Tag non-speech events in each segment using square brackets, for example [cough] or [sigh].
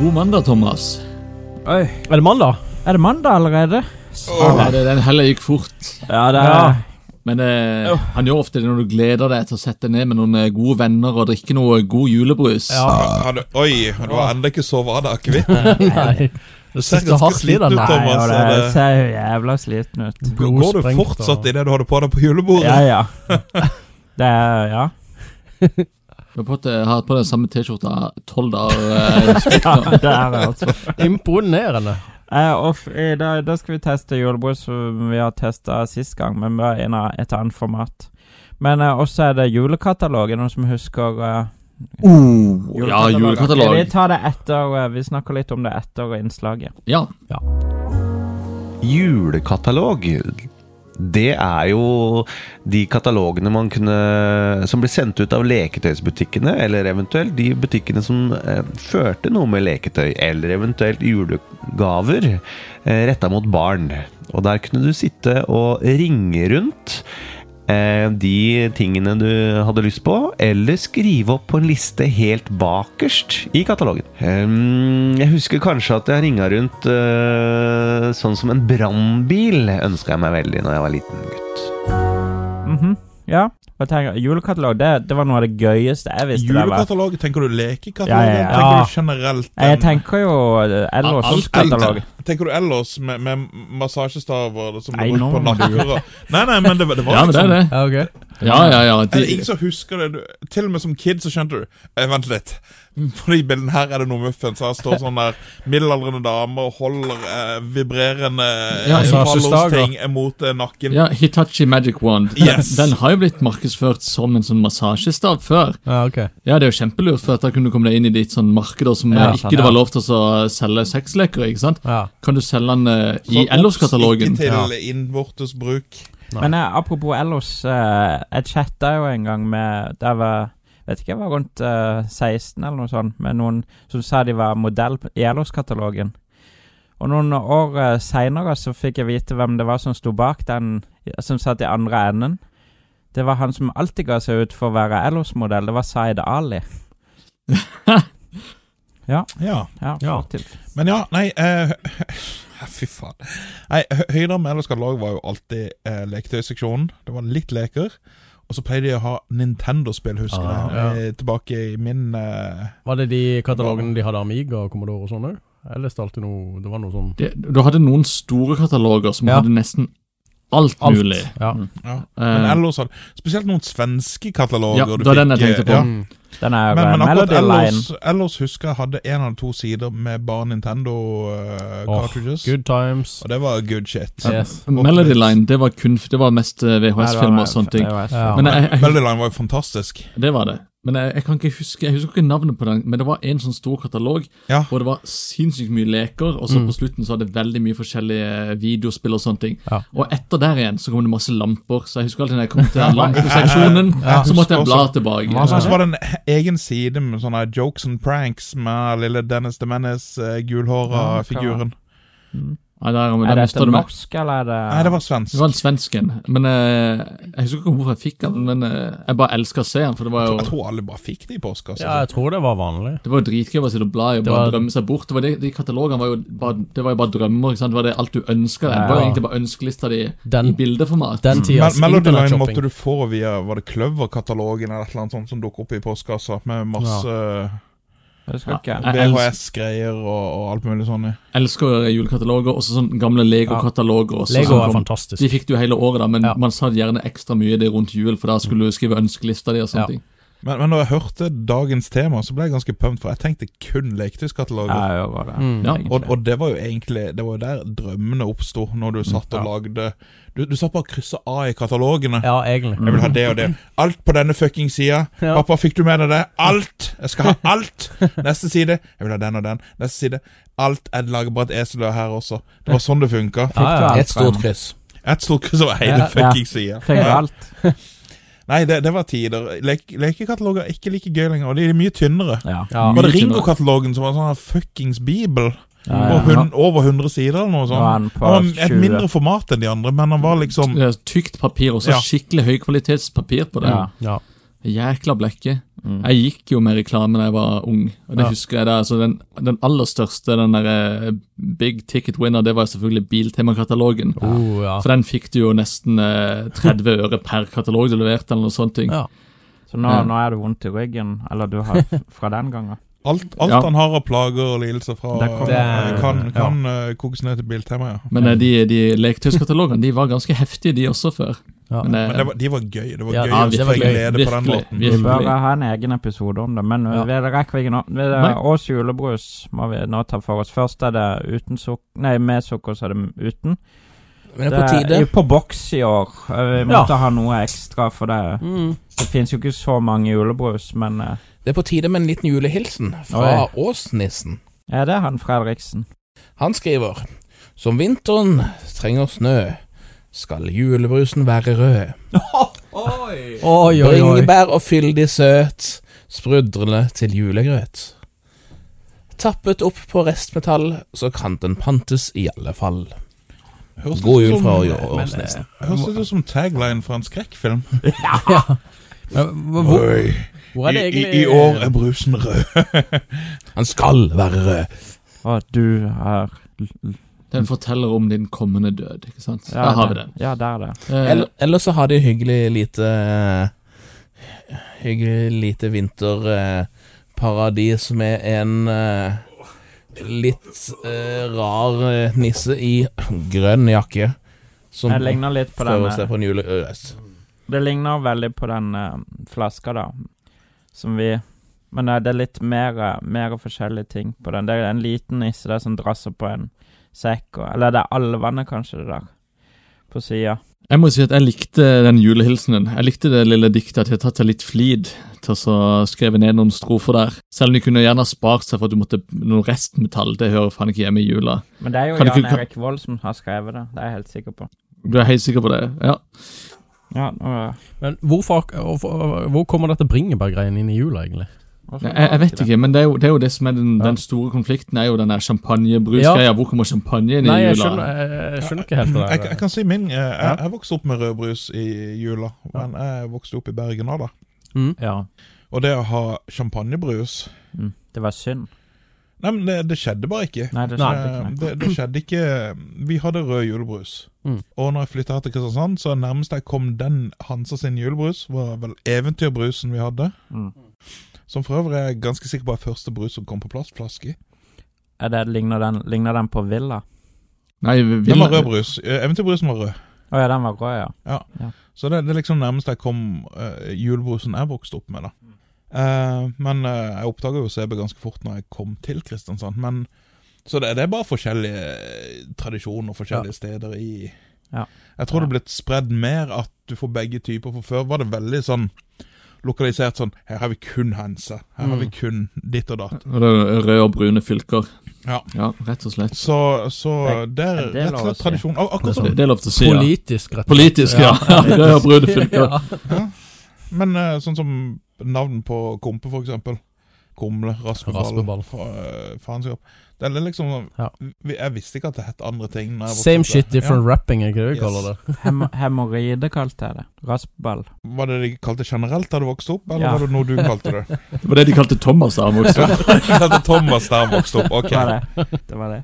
God mandag, Thomas. Oi. Er det mandag? Er det mandag allerede? Nei, det- Den heller gikk fort. Ja, det Ja. er Men eh, han gjør ofte det når du gleder deg til å sette deg ned med noen eh, gode venner og drikke noe god julebrus. Ja. Har du, oi, har du ennå ikke sovet av deg akevitt? [laughs] Nei. Du ser sitter ganske hardt i sliten den. ut, ja, Thomas. er det det- ser jo jævla sliten ut. Går du [laughs] Blodsprengt fortsatt og- i Oh, det du hadde på deg på julebordet? Ja, ja. [laughs] Det er Ja. Du har, fått, eh, har på den samme T-skjorta tolv dager. eh, [laughs] stykk ja nå. det er det, altså. Imponerende. Eh, og f- i dag, da skal vi teste julebrus som vi har testa sist gang, men bare i en av- et annet format. Men eh, også er det julekatalogen, noen som husker eh, Oh. ja, julekatalog. Vi tar det etter eh, Vi snakker litt om det etter innslaget. Ja. Julekatalog, det er jo de katalogene man kunne Som blir sendt ut av leketøysbutikkene, eller eventuelt de butikkene som eh, førte noe med leketøy, eller eventuelt julegaver eh, retta mot barn. Og der kunne du sitte og ringe rundt eh, de tingene du hadde lyst på, eller skrive opp på en liste helt bakerst i katalogen. Ehm, Jeg husker kanskje at jeg ringa rundt eh, sånn som en brannbil, ønska jeg meg veldig når jeg var liten gutt. Mhm. Ja. Og tenker, julekatalog, det, det var noe av det gøyeste jeg visste. det var. Julekatalog? Tenker du lekekatalog? Ja, ja, ja. Tenker du generelt Jeg den- tenker jo eh, ellers Alt- katalog. Tenker du ellers med, med massasjestaver som Nei, du bruker nå på må du nakker? og- Nei, nei, men det, var- det var ja, men det er det. Ja, ok. Ja, ja, ja. Det sånn. er ingen De, som husker det. Du, til og med som kid så skjønte du eh, Vent litt. [laughs] På de bildene her er det noe muffens. Her står sånn der middelaldrende dame og holder eh, vibrerende Ja, eh, massasjestager. fallosting mot eh, nakken. ja, Hitachi Magic Wand. Yes. Den har jo blitt markedsført som en sånn massasjestav før. Ja, ok. Ja, Det er jo kjempelurt, for at da kunne du komme deg inn i ditt sånn markeder som Ja, eh, sant, ikke det var ja. lov til å selge sexleker i. ikke sant? Ja. Kan du selge den eh, i Sånn, Ellos-katalogen? Ikke til Ja. innvortes bruk. Nei. Men eh, apropos ellers, eh, jeg chatta jo en gang med Da jeg var Vet ikke, jeg var rundt eh, 16 eller noe sånt, med noen som sa de var modell på- i Ellos-katalogen. Og noen år uh, seinere så fikk jeg vite hvem det var som sto bak den, som satt i andre enden. Det var han som alltid ga seg ut for å være Ellos-modell. Det var Zaid Ali. Ja. Ja, Ja. faktisk. Men ja, nei eh, [laughs] Fy faen. Nei, hø- Høyder med Ellers Katalog var jo alltid eh, leketøyseksjonen. Det var litt leker. Og så pleide de å ha Nintendo-spill, husker Ah, jeg. ja. Eh, Tilbake i min eh, Var det de katalogene de hadde Amiga og Commodore og sånn òg? Eller stalte noe Det var noe sånn Det, du hadde noen store kataloger som Ja. hadde nesten alt, alt. mulig. Ja. ja. Men Eh, ellers hadde Spesielt noen svenske kataloger. eh, Ja, det var den jeg tenkte på. Ja. Mm. Den er Men, eh, men akkurat Melody Line. ellers, ellers husker jeg hadde én eller to sider med bare Nintendo eh, Åh, cartridges. Good times. og det var good shit. Yes. Melody Line, det var kun Det var mest eh, VHS-filmer og sånne ting. Ja. Men eh, jeg, jeg, Melody Line var jo fantastisk. det var det. Men jeg, jeg kan ikke huske Jeg husker ikke navnet på den, men det var en sånn stor katalog Ja. hvor det var sinnssykt mye leker, og så Mm. på slutten så hadde det veldig mye forskjellige eh, videospill og sånne ting. Ja. Og etter der igjen så kom det masse lamper, så jeg husker alltid når jeg kom til den lampeseksjonen, så måtte jeg bla tilbake. Og så var det en egen side med sånne jokes and pranks med lille Dennis the Menace, eh, gulhåra Ja, figuren. Nei, der, men Er der dette mister du meg. norsk, eller er det Nei, det var svensk. Det var en svensken, men eh, jeg husker ikke hvorfor jeg fikk den, men eh, jeg bare elsker å se den, for det var Jeg jo tror alle bare fikk det i altså. postkassa. Ja, jeg tror det var vanlig. det var jo dritgøy å sitte og bla i og Det bare var- drømme seg bort. Det var det, de katalogene var jo bare, det var jo bare drømmer. ikke sant? Det var det alt du ønska deg. Det var jo Ja. egentlig bare ønskelista di i Den, bildeformat. Mm. den Me- tidas Melody Line måtte internettshopping. du få via Var det Kløverkatalogen eller et eller annet sånt som dukket opp i postkassa, med masse eh, Jeg husker Ja, ikke. jeg elsker, VHS-greier og, og alt mulig sånn. ja. elsker julekataloger, også sånn gamle Lego-kataloger. også Lego som kom. er fantastisk. De fikk du hele året, da, men Ja. man satt gjerne ekstra mye i det rundt jul, for da skulle du skrive ønskelista di og sånne Ja. ting. Men, men når jeg hørte dagens tema, så ble jeg ganske pumped, for jeg tenkte kun leketøyskataloger. Ja, jeg gjør det. Mm. Ja, Og, og det var jo egentlig Det var jo der drømmene oppsto, når du satt og lagde Du, du satt bare og kryssa A i katalogene. Ja, egentlig. Jeg vil ha det og det. Alt på denne fucking sida. Ja. Pappa, fikk du med deg det? Alt! Jeg skal ha alt! Neste side. Jeg vil ha den og den. Neste side. Alt. Jeg lager bare et esel her også. Det var sånn det funka. Ja, ja. Fikk du Et stort kryss. Ett stort kryss over Ja, hele ja. fucking sida. Fikk du alt? Nei, det, det var tider. Lek, lekekataloger er ikke like gøy lenger, og de er mye tynnere. Ja. Ja. Var det Mye tynnere. Ringo-katalogen som var en sånn fuckings bibel? Ja, På hun, over 100 sider eller Nå er noe sånt? han på Han var sånn. et 20. mindre format enn de andre, men han var liksom Det er Tykt papir, og så Ja. skikkelig høykvalitetspapir på det. Ja. Ja. Jækla blekke. Mm. Jeg gikk jo med reklame da jeg var ung, og det Ja. husker jeg da. Altså den, den aller største, den der eh, big ticket winner, det var jo selvfølgelig Biltemakatalogen. Oh, ja. For den fikk du jo nesten eh, 30 øre per katalog du leverte, eller noe sånt. ting. Ja. Så nå, Ja. nå er det vondt i ryggen, eller du har fra den gangen. Alt, alt Ja. han har av plager og lidelser fra Det kommer- eh, kan, Det- kan eh, kokes ned til Biltema, ja. Men eh, de, de leketøyskatalogene de var ganske heftige, de også, før. [laughs] Ja. Men, eh, Men det var, de var gøy. Det var Ja, gøy ja, å det få var gøy. glede på den Virkelig, måten. Vi virkelig. bør ha en egen episode om det, men Ja. vi rekker ikke nå. Vi- Nei. Ås julebrus må vi nå ta for oss. Først er det uten sukker Nei, med sukker, så er det uten. Men det er på tide. jo på boks i år. Eh, Vi Ja. måtte ha noe ekstra, for det, Mm. det fins jo ikke så mange julebrus, men eh, Det er på tide med en liten julehilsen fra Åsnissen. ja, det er han Fredriksen. Han skriver Som vinteren trenger snø, skal julebrusen være rød. Oi, oi, oi. Bringebær og fyldig søt, sprudrende til julegrøt. Tappet opp på restmetall, så kan den pantes i alle fall. Høres ut God jul som- fra Å- men, eh, Åsnesen. Høres ut som tagline fra en skrekkfilm. Ja. Men Hvor, Oi, hvor er i, det i, egentlig i år er brusen rød. Han skal være rød. Og du er Den forteller om din kommende død, ikke sant. der har vi det- den. Ja, der er det. Eh, Eller, ellers så har de hyggelig lite Hyggelig lite vinterparadis med en eh, litt eh, rar eh, nisse i grønn jakke. Som Det ligner litt på prøver å se den eh, på en juleøst. Det ligner veldig på den eh, flaska, da, som vi Men eh, det er litt mer, eh, mer forskjellige ting på den. Det er en liten nisse der som drasser på en sekk, og Eller det er alvene, kanskje, det der, på sida. Jeg må si at jeg likte den julehilsenen. Jeg likte det lille diktet at jeg tatt seg litt flid til å så skrive ned noen strofer der. Selv om de kunne gjerne ha spart seg for at du måtte noe restmetall. Det hører faen ikke hjemme i jula. Men det er jo Kan du Jan ikke- kan- Erik Vold som har skrevet det, det er jeg helt sikker på. Du er helt sikker på det? Ja. Ja, nå, Men hvorfor, hvorfor- hvor kommer dette bringebærgreiene inn i jula, egentlig? hvorfor Jeg, jeg vet ikke, men det er jo det, er jo det som er den, Ja. den store konflikten, er jo den der champagnebrusgreia. Hvor kommer champagnen inn Nei, i jeg jula? skjønner, jeg, jeg skjønner ikke helt Jeg, det jeg der. kan si min. eh, Jeg, Ja. jeg vokste opp med rødbrus i jula, men jeg vokste opp i Bergen òg, da. Mm. Ja. Og det å ha champagnebrus Mm, det var synd. Nei, men det, det skjedde bare ikke. Nei, det skjedde Eh, ikke. nei. Det, det skjedde ikke Vi hadde rød julebrus. Mm. Og når jeg flytta her til Kristiansand, så nærmest jeg kom den Hansa sin julebrus, var vel eventyrbrusen vi hadde. Mm. Som for øvrig er jeg ganske sikker på er første brus som kom på plastflaske. Er det, ligner, den, ligner den på Villa? Nei, vi- vi- Den var rød brus. Eh, Eventyrbrusen var rød. Å ja, den var rød, ja. Så det, det er liksom nærmest jeg kom eh, julebrusen jeg vokste opp med, da. Eh, men eh, jeg oppdaga jo CB ganske fort når jeg kom til Kristiansand. Men, så det, det er bare forskjellige eh, tradisjoner og forskjellige steder i Ja. Jeg tror det er blitt spredd mer at du får begge typer. For før var det veldig sånn lokalisert sånn Her har vi kun Hense. Her har vi kun ditt og datt. Og det er røde og brune fylker. Ja. ja rett og slett. Så, så det er er det rett lov og å slett si? tradisjon. Ak- akkurat som Det, det er lov til å si, ja. Politisk, rett og slett. Politisk, ja. [laughs] Røde og brune fylker. [laughs] Ja. Men eh, sånn som navn på kompe, for eksempel. Kumle, raspeball, Raspeball. fa- eh, faenskap. Det er liksom Ja. vi- Jeg visste ikke at det het andre ting. når jeg vokste Same opp. shit, different rapping, er ikke det vi Yes. kaller det? [laughs] Hem hemoroide kalte jeg det. Raspball. Ja. Var det de kalte generelt da du vokste opp, eller Ja. var det noe du kalte [laughs] det? Det var det de kalte Thomas da han vokste opp. Jeg kalte Thomas da han vokste opp, ok. Det var det. det, var det.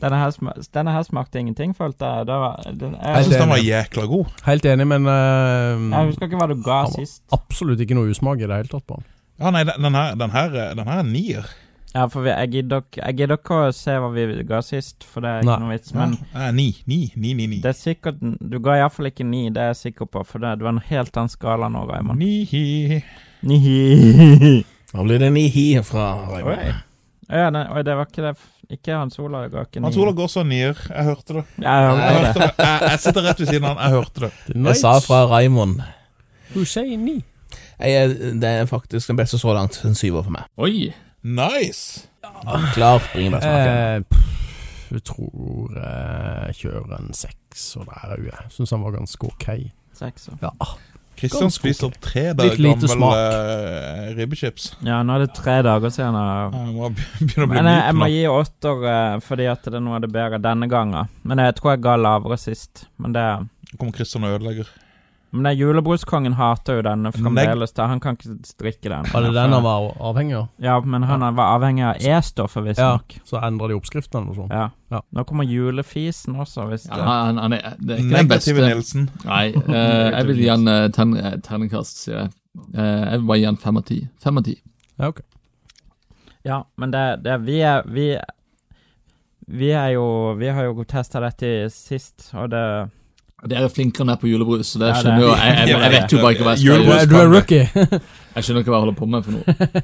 Denne, her sma denne her smakte ingenting, følte jeg. Det var, den, Jeg jeg, syns den var jækla god. Helt enig, men eh, jeg husker ikke hva du ga Han var- sist. absolutt ikke noe usmak i det hele tatt på den. Ja, nei, den den her, den her, er- den her er en nier. Ja, for vi, jeg gidder ikke- jeg gidder ikke å se hva vi ga sist, for det Nei. er ikke noe vits. Men Ja, eh, ni, ni, ni, ni, ni. det er sikkert Du ga iallfall ikke ni, det er jeg sikker på, for det, du har en helt annen skala nå, Raymond. Ni. Ni. Da blir det ni hi fra Raymond. Å ja, nei, oi, det var ikke det f- Ikke Hans Olav ga ikke ni. Hans Olav også en nier. Jeg hørte det. Ja, jeg Jeg, hørte hørte det. det. jeg, jeg sitter rett ved siden av han. Jeg hørte det. Jeg sa fra Raymond. Husseini. Jeg er, det er faktisk den beste så langt. En syver for meg. Oi! Nice! Klart bringebærsmaken. Eh, pff, jeg tror eh, jeg kjører en seks, og der er jeg. Syns han var ganske ok. Sekser. Ja. Kristian Ganske spiser ok. tre dager Litt lite gammel smak. eh, ribbechips. Ja, nå er det tre dager siden. Jeg Jeg må [laughs] begynne å bli Men jeg, jeg må myk nå. gi åtter eh, fordi at det er noe av det bedre denne gangen. Men jeg tror jeg ga lavere sist. Men det Nå Kommer Kristian og ødelegger. Men den julebruskongen hater jo den fremdeles. Da. Han kan ikke drikke den. Var det den han var avhengig av? Ja, men han var avhengig av E-stoffet, visstnok. Så endra de oppskriften eller noe sånt? Ja. Ja. Nå kommer julefisen også, hvis Ja, han, han er, det er ikke den Negative beste. Nielsen. Nei, eh, jeg vil gi han eh, tern- eh, terningkast, sier jeg. Eh, jeg vil bare gi han fem av ti. Fem av ti. Ja, ok. Ja, men det, det vi er vi, vi er jo Vi har jo testa dette i sist, og det Dere er flinkere enn jeg på julebrus, så det Ja, det er- skjønner jo jeg, jeg, jeg vet jo bare ikke hva jeg Du skal er, gjøre. du er rookie. Jeg skjønner ikke hva jeg holder på med for noe.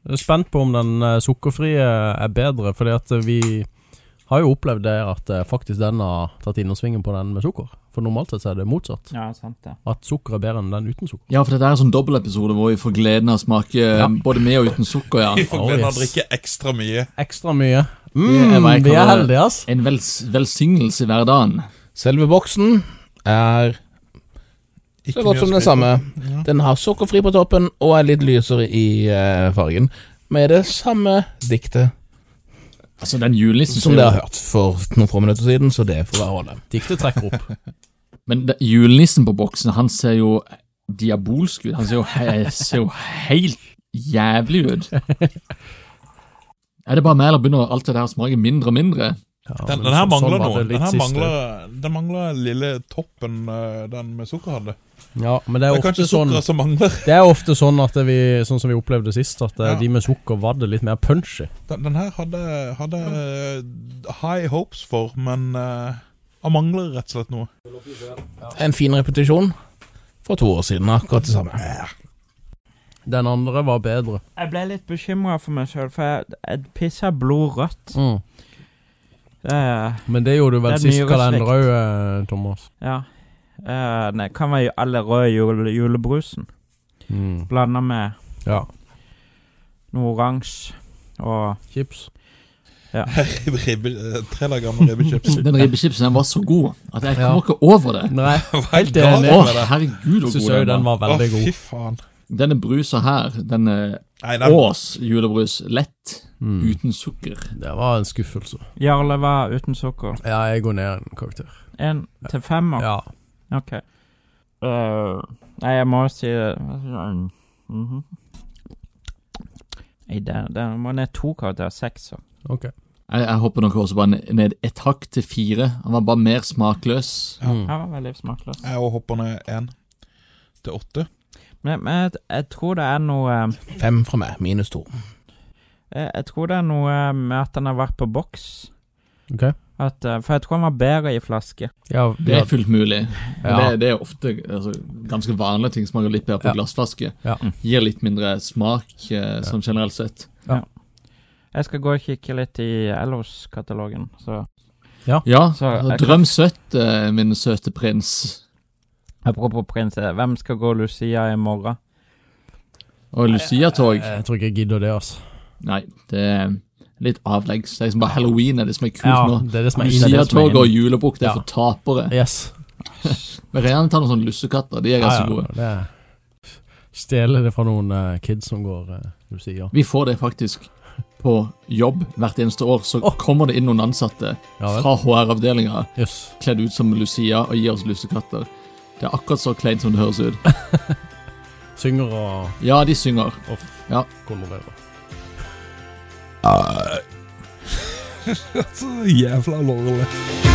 Jeg er spent på om den eh, sukkerfrie er bedre, fordi at eh, vi har jo opplevd det at eh, faktisk den har tatt innersvingen på den med sukker. For normalt sett så er det motsatt. Ja, sant det. At sukker er bedre enn den uten sukker. Ja, for dette er en sånn dobbeltepisode hvor vi får gleden av å smake eh, Ja. både med og uten sukker, ja. [laughs] Vi får Oh, glede av yes. å drikke ekstra mye. Ekstra mye. er Mm, hva jeg vi er kaller- heldige, ass. En vels velsignelse i hverdagen. Selve boksen er Ikke så mye godt å som den skryte samme. av. Ja. Den har sukkerfri på toppen og er litt lysere i eh, fargen. Med det samme diktet Altså, den julenissen som dere har hørt for noen få minutter siden, så det får være holde. Diktet trekker opp. Men det- julenissen på boksen, han ser jo diabolsk ut. Han ser jo, he ser jo helt jævlig ut. Er det bare meg, eller begynner alt det der å smake mindre og mindre? Ja, Den, men den her så- sånn mangler var noe. det litt Den her sist. mangler, den mangler lille toppen eh, den med sukker hadde. Ja, men det Det er er ofte kanskje sånn sukkeret som mangler. Det er ofte sånn at vi, sånn som vi opplevde sist, at eh, Ja. de med sukker var det litt mer punchy. Den, den her hadde, hadde eh, high hopes for, men eh, han mangler rett og slett noe. [laughs] En fin repetisjon for to år siden. Akkurat det samme. Den andre var bedre. Jeg ble litt bekymra for meg sjøl, for jeg, jeg pisser blodrødt. Det er- Men det gjorde du vel Det er sist mye kalender òg, respekt. eh, Thomas. Ja. Eh, det kan være alle røde jule, julebrusen blanda med Ja. noe oransje og Chips. Ribbe, ribbe, eh, tre dager gammel ribbechips. [laughs] Den ribbechipsen den var så god at jeg kommer ikke over det. Nei, helt Å, enig. herregud, så Syns god den jeg den var. var Å, veldig god. fy faen. Denne brusa her, denne Nei, den, Ås julebrus, lett, Mm. uten sukker. Det var en skuffelse. Jarle var uten sukker. Ja, jeg går ned en karakter. Én til femmer. Ja. Ok. Eh, nei, jeg må si det Mhm. Nei, det, det må ned to karakterer. Seks. så. Jeg, jeg hopper nok også bare ned et hakk til fire. Han var bare mer smakløs. Mm. Her var veldig smakløs. jeg også hopper ned én til åtte. Men, men jeg, jeg tror det er noe eh, Fem fra meg, minus to. jeg, jeg tror det er noe eh, med at den har vært på boks. Ok. At, eh, for jeg tror den var bedre i flaske. Ja, Det ja, er fullt mulig. Ja. Det, det er ofte altså, ganske vanlige ting smaker litt bedre på Ja. glassflaske. Ja. Mm. Gir litt mindre smak eh, sånn generelt sett. Jeg skal gå og kikke litt i Ellos-katalogen. Så Ja, Så jeg altså, kan- drøm søtt, eh, min søte prins. apropos prins, eh, hvem skal gå Lucia i morgen? Og Eh, Lucia-tog. jeg tror ikke jeg gidder det, altså. Nei, det er litt avleggs. Det er liksom bare halloween er det som er kult Ja, nå. det er det som er inne. Lucia-tog og julebukk, det er Ja. for tapere. Yes. Men gjerne ta noen sånne lussekatter, de er ganske gode. det er- Stjele det fra noen eh, kids som går eh, Lucia. Vi får det faktisk på jobb hvert eneste år. Så Åh. kommer det inn noen ansatte Ja vel. fra HR-avdelinga Jøss. kledd ut som Lucia og gir oss lussekatter. Det er akkurat så kleint som det høres ut. Synger og, Ja, de synger. og Ja. kolorerer. Så jævla lorle.